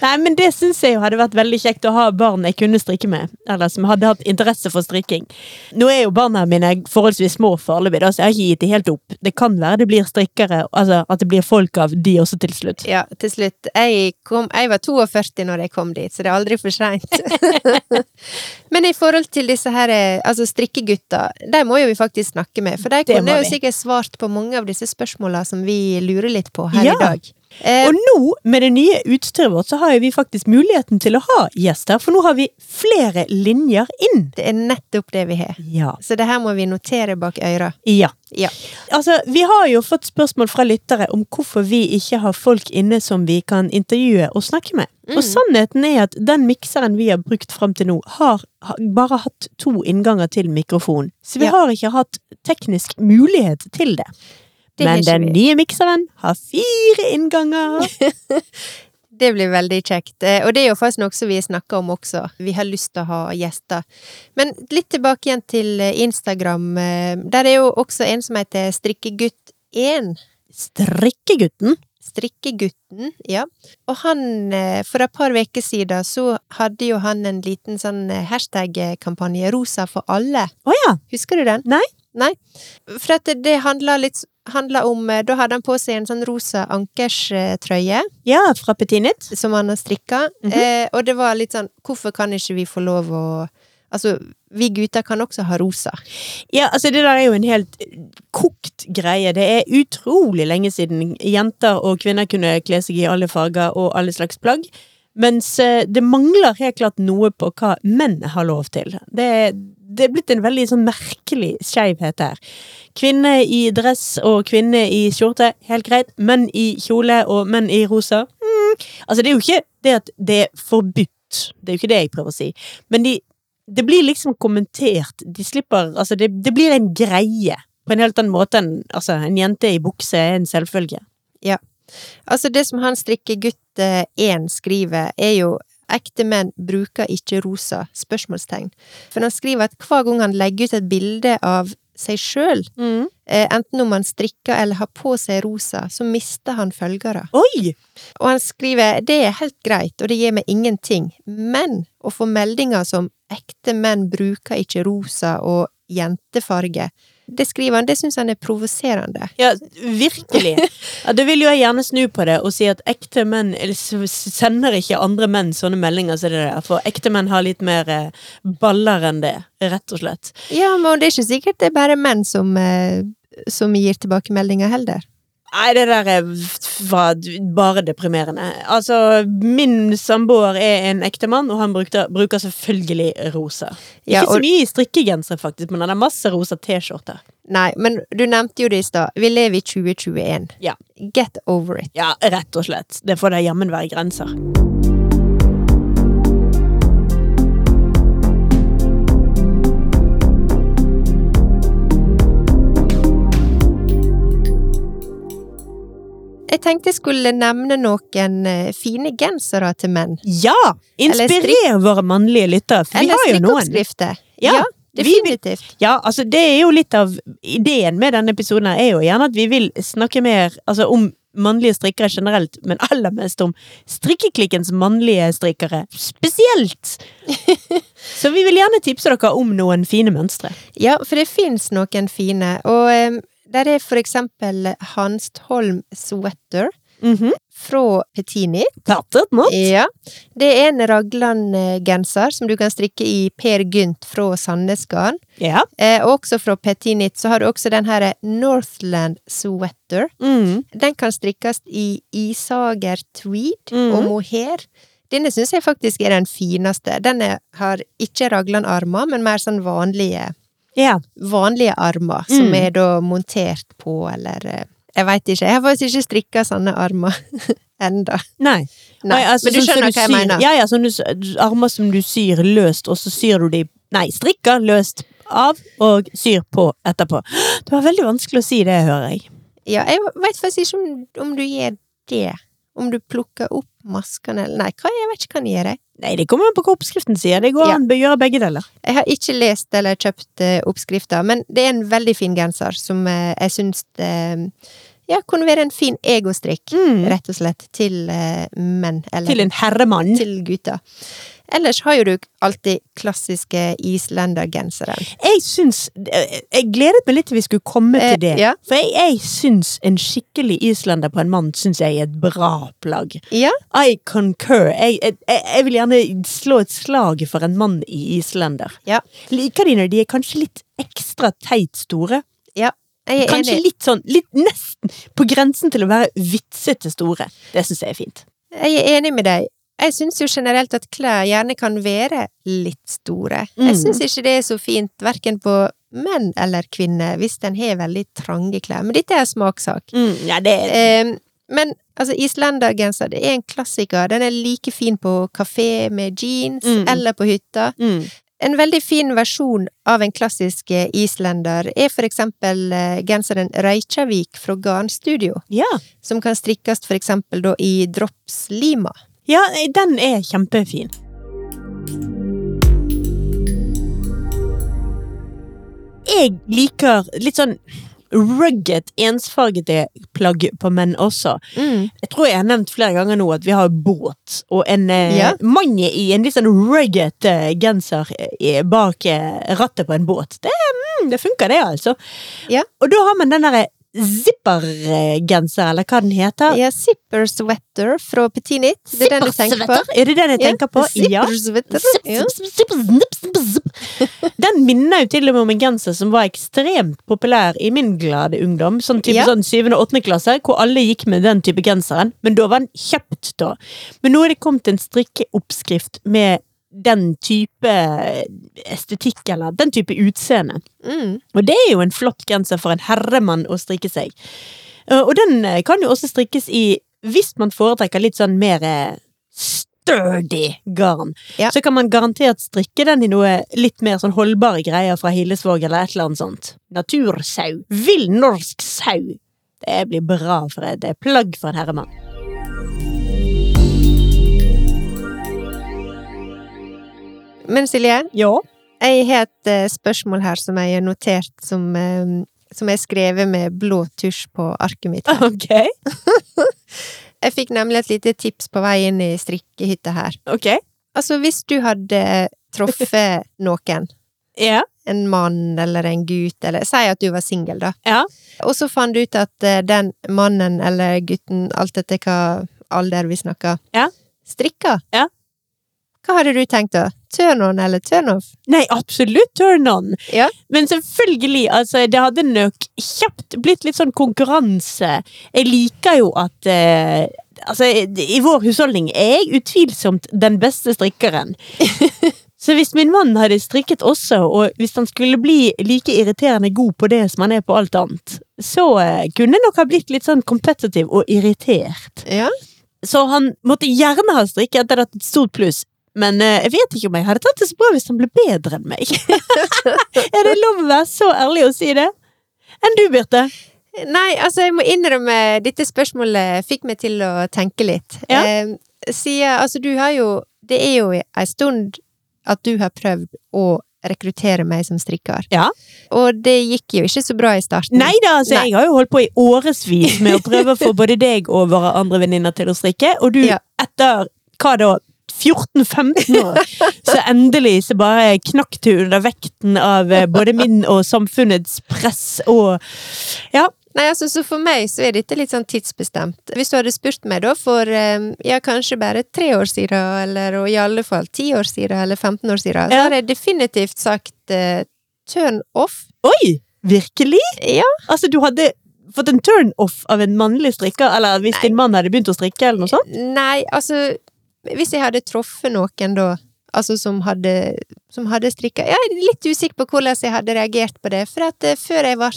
Nei, men det syns jeg jo hadde vært veldig kjekt å ha barn jeg kunne strikke med. Eller som hadde hatt interesse for strikking. Nå er jo barna mine forholdsvis små foreløpig, da, så jeg har ikke gitt det helt opp. Det kan være det blir strikkere, altså at det blir folk av de også til slutt. Ja, til slutt. Jeg, kom, jeg var 42 når jeg kom dit, så det er aldri for seint. Men i forhold til disse her, eh, altså strikkegutta, de må jo vi faktisk snakke med. For de Det kunne må jo vi. sikkert svart på mange av disse spørsmåla som vi lurer litt på her Ja. i dag. Eh, Og nå, med det nye utstyret vårt, så har jo vi faktisk muligheten til å ha gjester, for nå har vi flere linjer inn. det er nettopp det vi har. Ja. Så det her må vi notere bak øra. Ja. Ja. Altså, vi har jo fått spørsmål fra lyttere om hvorfor vi ikke har folk inne som vi kan intervjue og snakke med. Mm. Og sannheten er at den mikseren vi har brukt fram til nå, har ha- bare hatt to innganger til mikrofon. Så vi Ja. har ikke hatt teknisk mulighet til det. Det har Men ikke den vi. nye mikseren har fire innganger. Det blir veldig kjekt. Eh, Og det er jo faktisk noe som vi snakker om også. Vi har lyst til å ha gjester. Men litt tilbake igjen til eh, Instagram. eh, Der er jo også en som heter Strikkegutt1. Strikkegutten. Strikkegutten, ja. Og han, eh, for et par uker siden, så hadde jo han en liten sånn eh, hashtag-kampanje, Rosa for alle. Å ja. Husker du den? Nei. Nei. For at det- det handla litt handla om eh, Da hadde han på seg en sånn rosa ankerstrøye Ja, fra Petit Nytt. som han har strikka. Mhm. eh, og det var litt sånn Hvorfor kan ikke vi få lov å Altså, vi gutter kan også ha rosa. Ja, altså det der er jo en helt kokt greie. Det er utrolig lenge siden jenter og kvinner kunne kle seg i alle farger og alle slags plagg. Mens eh, det mangler helt klart noe på hva menn har lov til. Det, det er blitt en veldig sånn merkelig skeivhet der. Kvinne i dress og kvinne i skjorte, helt greit. Menn i kjole og menn i rosa. Mm. Altså, det er jo ikke det at det er forbudt. Det er jo ikke det jeg prøver å si. Men de, det blir liksom kommentert. De slipper Altså, det, det blir en greie. På en helt annen måte enn altså, en jente i bukse er en selvfølge. Altså, det som han strikkegutt eh, 1 skriver, er jo Ekte menn bruker ikke rosa? spørsmålstegn. For han skriver at hver gang han legger ut et bilde av seg sjøl, eh, enten om han strikker eller har på seg rosa, så mister han følgere. Oi! Og han skriver det er helt greit, og det gir meg ingenting, men å få meldinger som ekte menn bruker ikke rosa og jentefarge, det skriver han, det syns han er provoserende. Ja, virkelig. Ja, da vil jo jeg gjerne snu på det og si at ekte menn eller s- s- sender ikke andre menn sånne meldinger som det der, for ekte menn har litt mer eh, baller enn det, rett og slett. Ja, men det er ikke sikkert det er bare menn som, eh, som gir tilbakemeldinger heller. Nei, det der er f- var d- bare deprimerende. Altså, min samboer er en ekte mann, og han brukte, bruker selvfølgelig rosa. ikke Ja, så og, mye i strikkegensere, faktisk, men han har masse rosa T-skjorter. nei, men du nevnte jo det i stad, vi lever i 2021. Ja. Get over it. Ja, rett og slett. Det får da jammen være grenser. Jeg tenkte jeg skulle nevne noen eh, fine gensere til menn. Ja! Inspirer våre mannlige lyttere, for vi Eller har jo noen. strikkeoppskrifter. Ja, ja, vi vil- definitivt. Ja, altså det er jo litt av ideen med denne episoden her, er jo gjerne at vi vil snakke mer altså, om mannlige strikkere generelt, men aller mest om strikkeklikkens mannlige strikkere spesielt. Så vi vil gjerne tipse dere om noen fine mønstre. Ja, for det fins noen fine, og em, der er for eksempel Hanstholm Sweater Mhm. Eh, fra Petini. Tattet nå? Ja. Det er en Ragland-genser som du kan strikke i Per Gynt fra Sandnes Garn. Ja. Eh, og også fra Petini så har du også den her Northland Sweater. Mm. Den kan strikkes i isager tweed Mhm. og mohair. Denne syns jeg faktisk er den fineste. Den er, har ikke Ragland-armer, men mer sånn vanlige ja. vanlige armer, Mm. som er da montert på, eller eh, Jeg veit ikke. Jeg har faktisk ikke strikka sånne armer enda. Nei. Nei, Nei, altså, men du sånn som skjønner hva jeg syr, mener. Ja, ja, sånn du, s- du- armer som du syr løst, og så syr du de Nei, strikker løst av og syr på etterpå. Det var veldig vanskelig å si det, hører jeg. Ja, jeg veit faktisk ikke om, om du gjør det. Om du plukker opp maskene eller Nei, hva, jeg vet ikke hva den gjør. Jeg Nei, det kommer an på hva oppskriften sier. Det går Ja. an å gjøre begge deler. Jeg har ikke lest eller kjøpt eh, oppskrifta, men det er en veldig fin genser som eh, jeg syns eh, ja, kunne være en fin egostrikk, rett og slett, til eh, menn. Eller Mm. Til en herremann. til gutter. Ellers har jo du alltid klassiske islendergensere. Jeg syns eh, Jeg gledet meg litt til vi skulle komme Eh, til det. ja. For jeg, jeg syns en skikkelig islender på en mann syns jeg er et bra plagg. Ja, I concur. Jeg, jeg, jeg jeg vil gjerne slå et slag for en mann i islender. Ja. Liker de når de er kanskje litt ekstra teit store? jeg er Kanskje enig. litt sånn litt Nesten på grensen til å være vitsete store. Det syns jeg er fint. Jeg er enig med deg. Jeg syns jo generelt at klær gjerne kan være litt store. Mm. Jeg syns ikke det er så fint, verken på menn eller kvinner, hvis en har veldig trange klær. Men dette er smakssak. ja, det er Ehm, men altså, islendergenser det er en klassiker. Den er like fin på kafé med jeans Mm. eller på hytta. mm. En veldig fin versjon av en klassisk eh, islender er for eksempel eh, genseren Reykjavik fra Garnstudio. Ja. som kan strikkes for eksempel da i dropslima. Ja, nei, den er kjempefin. Jeg liker litt sånn rugged, ensfargete plagg på menn også. Jeg tror jeg har nevnt flere ganger nå at vi har båt og en eh, Ja. mann i en litt sånn rugged eh, genser eh, bak eh, rattet på en båt. Det, mm, det funker, det, altså. Ja. Og da har man den eh, derre zippergenser, eh, eller hva den heter. Ja, zipper sweater fra Petinit. Det er den du tenker på? Zippersweater, Er det den jeg tenker på? Ja. Zipper sweater. Zipp, Ja. zipp, zipp, zipp, zipp, zipp, zipp. Den minner jo til og med om en genser som var ekstremt populær i min glade ungdom. Sånn type Ja. sånn 7. og 8. klasse, hvor alle gikk med den type genseren. Men da var den kjøpt, da. Men nå er det kommet en strikkeoppskrift med den type estetikk, eller den type utseende. Mm. Og det er jo en flott genser for en herremann å strikke seg. Eh, Og den eh, kan jo også strikkes i, hvis man foretrekker litt sånn mer eh, sturdy garn, Ja. så kan man garantert strikke den i noe litt mer sånn holdbare greier fra Hillesvåg eller et eller annet sånt. Natursau. Vill norsk sau. Det blir bra for et det er plagg for en herremann. Men Silje, Ja. jeg har et eh, spørsmål her som jeg har notert, som, eh, som jeg har skrevet med blå tusj på arket mitt. her. Ok. Jeg fikk nemlig et lite tips på vei inn i strikkehytta her. Ok. Altså, hvis du hadde truffet noen, Ja. en mann eller en gutt, eller si at du var singel, da, Ja. og så fant du ut at eh, den mannen eller gutten, alt etter hva alder vi snakker, Ja. strikker, Ja. hva hadde du tenkt da? Turn on eller turn off? Nei, absolutt turn on. Ja. Men selvfølgelig, altså, det hadde nok kjapt blitt litt sånn konkurranse. Jeg liker jo at eh, Altså, i vår husholdning er jeg utvilsomt den beste strikkeren. Så hvis min mann hadde strikket også, og hvis han skulle bli like irriterende god på det som han er på alt annet, så eh, kunne jeg nok ha blitt litt sånn kompetitiv og irritert. Ja. Så han måtte gjerne ha strikket, det hadde vært et stort pluss. Men eh, jeg vet ikke om jeg hadde tatt det så bra hvis han ble bedre enn meg. er det lov å være så ærlig og si det? Enn du, Birte? Nei, altså jeg må innrømme Dette spørsmålet fikk meg til å tenke litt. Ja. Eh, siden, altså du har jo Det er jo en stund at du har prøvd å rekruttere meg som strikker. Ja. Og det gikk jo ikke så bra i starten. Nei da, altså, Nei. jeg har jo holdt på i årevis med å prøve å få både deg og våre andre venninner til å strikke, og du, Ja. etter hva da, 14-15 år, så endelig så bare knakk du under vekten av eh, både min og samfunnets press og Ja, Nei, altså så for meg så er dette litt sånn tidsbestemt. Hvis du hadde spurt meg da for eh, ja, kanskje bare tre år siden, eller og i alle fall ti år siden, eller 15 år siden, så Ja. hadde jeg definitivt sagt eh, turn off. oi! Virkelig? Ja. Altså, du hadde fått en turn-off av en mannlig strikker, eller hvis din mann hadde begynt å strikke, eller noe sånt? Nei, altså Hvis jeg hadde truffet noen da, altså som hadde, som hadde strikka Jeg er litt usikker på hvordan jeg hadde reagert på det, for at eh, før jeg ble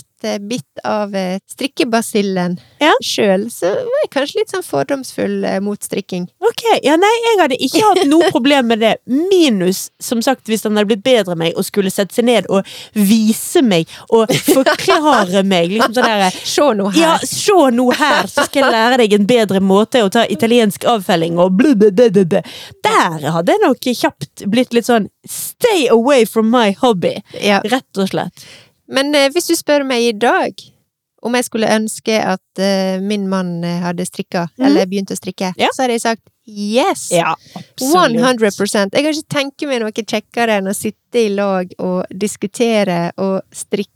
bitt av eh, strikkebasillen Ja. sjøl, så var jeg kanskje litt sånn fordomsfull eh, mot strikking. Ok, ja nei, jeg hadde ikke hatt noe problem med det. Minus, som sagt, hvis han hadde blitt bedre enn meg og skulle sette seg ned og vise meg og forklare meg. Liksom sånn derre Se nå her. ja, se nå her, så skal jeg lære deg en bedre måte å ta italiensk avfelling og blu, blu, blu, blu, blu. Der hadde jeg nok kjapt blitt litt sånn stay away from my hobby, Ja. rett og slett. Men eh, hvis du spør meg i dag om jeg skulle ønske at eh, min mann eh, hadde strikka, Mhm. eller begynt å strikke, Ja. så hadde jeg sagt yes! Ja, 100 Jeg kan ikke tenke meg noe kjekkere enn å sitte i lag og diskutere og strikke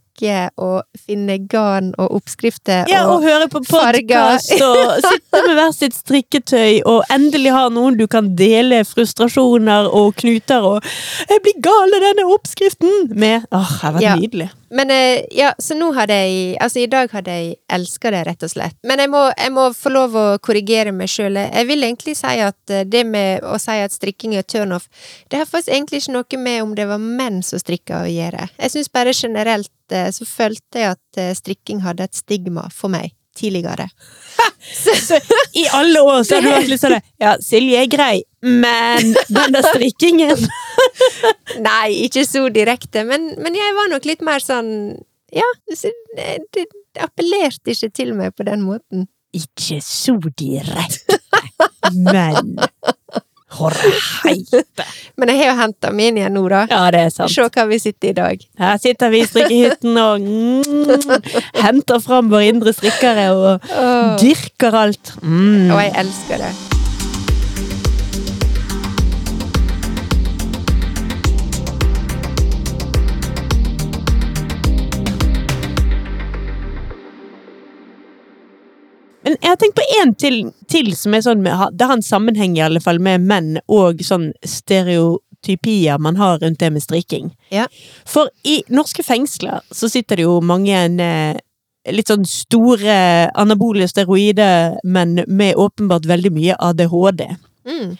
og finne garn og oppskrifter Ja, og og høre på farger. podkast og sitte med hver sitt strikketøy og endelig ha noen du kan dele frustrasjoner og knuter og 'Jeg blir gal av denne oppskriften!' med. Åh, det har vært Ja. nydelig. Men eh, ja, så nå hadde jeg Altså, i dag hadde jeg elska det, rett og slett. Men jeg må, jeg må få lov å korrigere meg sjøl. Jeg vil egentlig si at eh, det med å si at strikking er turnoff, det har faktisk egentlig ikke noe med om det var menn som strikka å gjøre. Jeg syns bare generelt eh, så følte jeg at eh, strikking hadde et stigma for meg tidligere. I alle år så har du vært litt sånn Ja, Silje er grei, men den der strikkingen Nei, ikke så direkte, men, men jeg var nok litt mer sånn Ja, så det, det appellerte ikke til meg på den måten. Ikke så direkte, men Horreheite. Men jeg har jo henta meg inn igjen nå, da. Ja, det er sant. Se hva vi sitter i dag. Her sitter vi i strikkehytten og mm, henter fram våre indre strikkere og Åh, Dyrker alt. Mm. Og jeg elsker det. Men jeg har tenkt på en til, til som er sånn med, Det har en sammenheng i alle fall med menn og sånn stereotypier man har rundt det med strikking. Ja. For i norske fengsler så sitter det jo mange eh, litt sånn store anabole steroider, men med åpenbart veldig mye ADHD. Mm.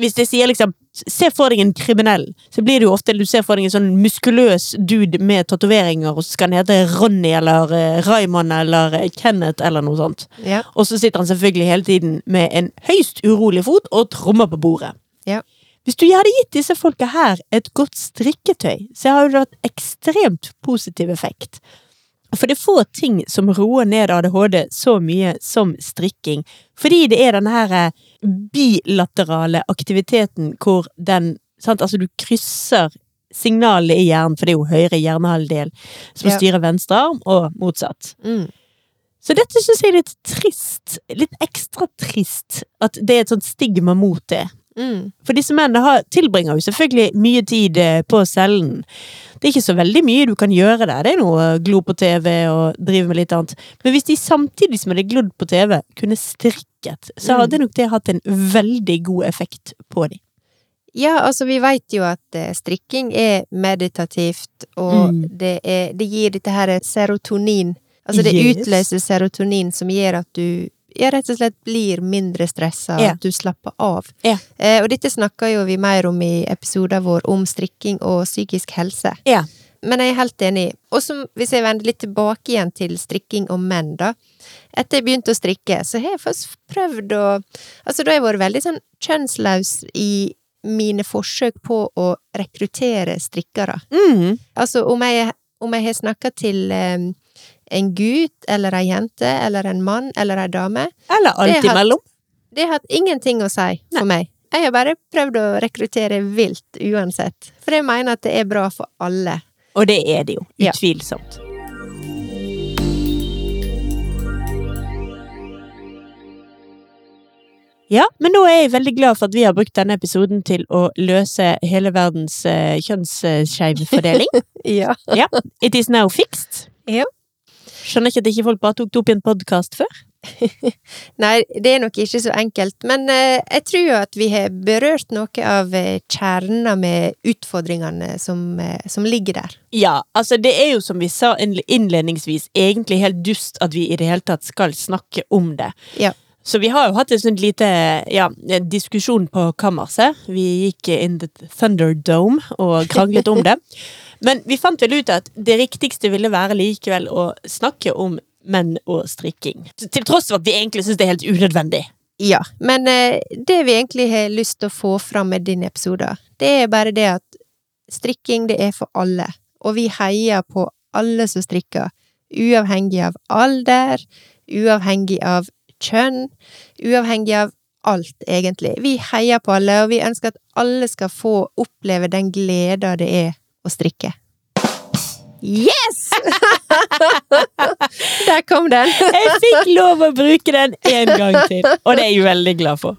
Hvis jeg sier liksom Se for deg en kriminell, så blir det jo ofte du ser for deg en sånn muskuløs dude med tatoveringer, og så skal han hete Ronny eller eh, Raymond eller eh, Kenneth eller noe sånt. Ja. Og så sitter han selvfølgelig hele tiden med en høyst urolig fot og trommer på bordet. Ja. Hvis du hadde gitt disse folka her et godt strikketøy, så har det hatt ekstremt positiv effekt. For det er få ting som roer ned ADHD så mye som strikking. Fordi det er denne her eh, bilaterale aktiviteten hvor den sant? Altså, du krysser signalet i hjernen, for det er jo høyre hjernehalvdel som Ja. styrer venstre arm, og motsatt. Mm. Så dette syns jeg er litt trist. Litt ekstra trist at det er et sånt stigma mot det. Mm. For disse mennene har, tilbringer jo selvfølgelig mye tid eh, på cellen. Det er ikke så veldig mye du kan gjøre der. Det er noe å glo på TV og drive med litt annet. Men hvis de samtidig som de hadde glodd på TV, kunne strikket, så hadde nok det hatt en veldig god effekt på dem. Ja, altså vi vet jo at eh, strikking er meditativt, og Mm. det, er, det gir dette her serotonin. Altså det Yes. utløser serotonin som gjør at du ja, rett og slett blir mindre stressa, Ja. at du slapper av. Ja. Eh, og dette snakker jo vi mer om i episoden vår om strikking og psykisk helse. Ja. Men jeg er helt enig. Og som, hvis jeg vender litt tilbake igjen til strikking og menn, da. Etter jeg begynte å strikke, så har jeg først prøvd å Altså, da har jeg vært veldig sånn kjønnsløs i mine forsøk på å rekruttere strikkere. Mm. Altså, om jeg, om jeg har snakka til eh, en gutt, eller ei jente, eller en mann, eller ei dame, Eller alt Det har- imellom. det har hatt ingenting å si for meg. Jeg har bare prøvd å rekruttere vilt uansett. For jeg mener at det er bra for alle. Og det er det jo. Ja. Utvilsomt. Ja, men nå er jeg veldig glad for at vi har brukt denne episoden til å løse hele verdens uh, kjønnsskjevfordeling. Ja. It is now fixed. Ja. Skjønner ikke at ikke folk bare tok det opp i en podkast før. Nei, det er nok ikke så enkelt, men eh, jeg tror jo at vi har berørt noe av eh, kjernen med utfordringene som, eh, som ligger der. Ja, altså det er jo som vi sa innle- innledningsvis, egentlig helt dust at vi i det hele tatt skal snakke om det. Ja. Så vi har jo hatt en sånn lite ja, en diskusjon på kammerset. Vi gikk in the Thunderdome og kranglet om det. Men vi fant vel ut at det riktigste ville være likevel å snakke om menn og strikking. Til tross for at vi egentlig syns det er helt unødvendig. Ja, men eh, det vi egentlig har lyst til å få fram med din episode, det er bare det at strikking, det er for alle. Og vi heier på alle som strikker, uavhengig av alder, uavhengig av kjønn, uavhengig av alt, egentlig. Vi heier på alle, og vi ønsker at alle skal få oppleve den gleda det er å strikke. Yes! Der kom den! Jeg fikk lov å bruke den en gang til, og det er jeg veldig glad for.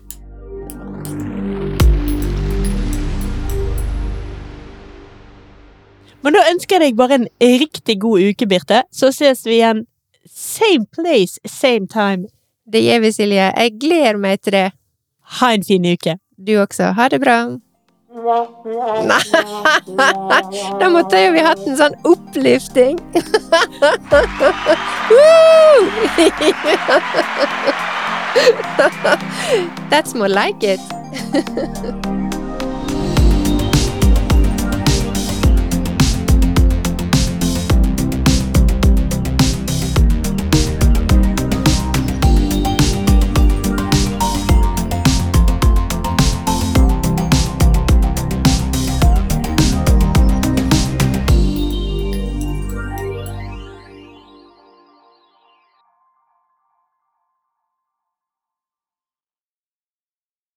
Men da ønsker jeg deg bare en riktig god uke, Birte. Så ses vi igjen same place, same time. Det gjør vi, Silje. Jeg gleder meg til det. Ha en fin uke. Du også. Ha det bra. Nei, da måtte jo vi hatt en sånn opplifting. Woo! That's more like it.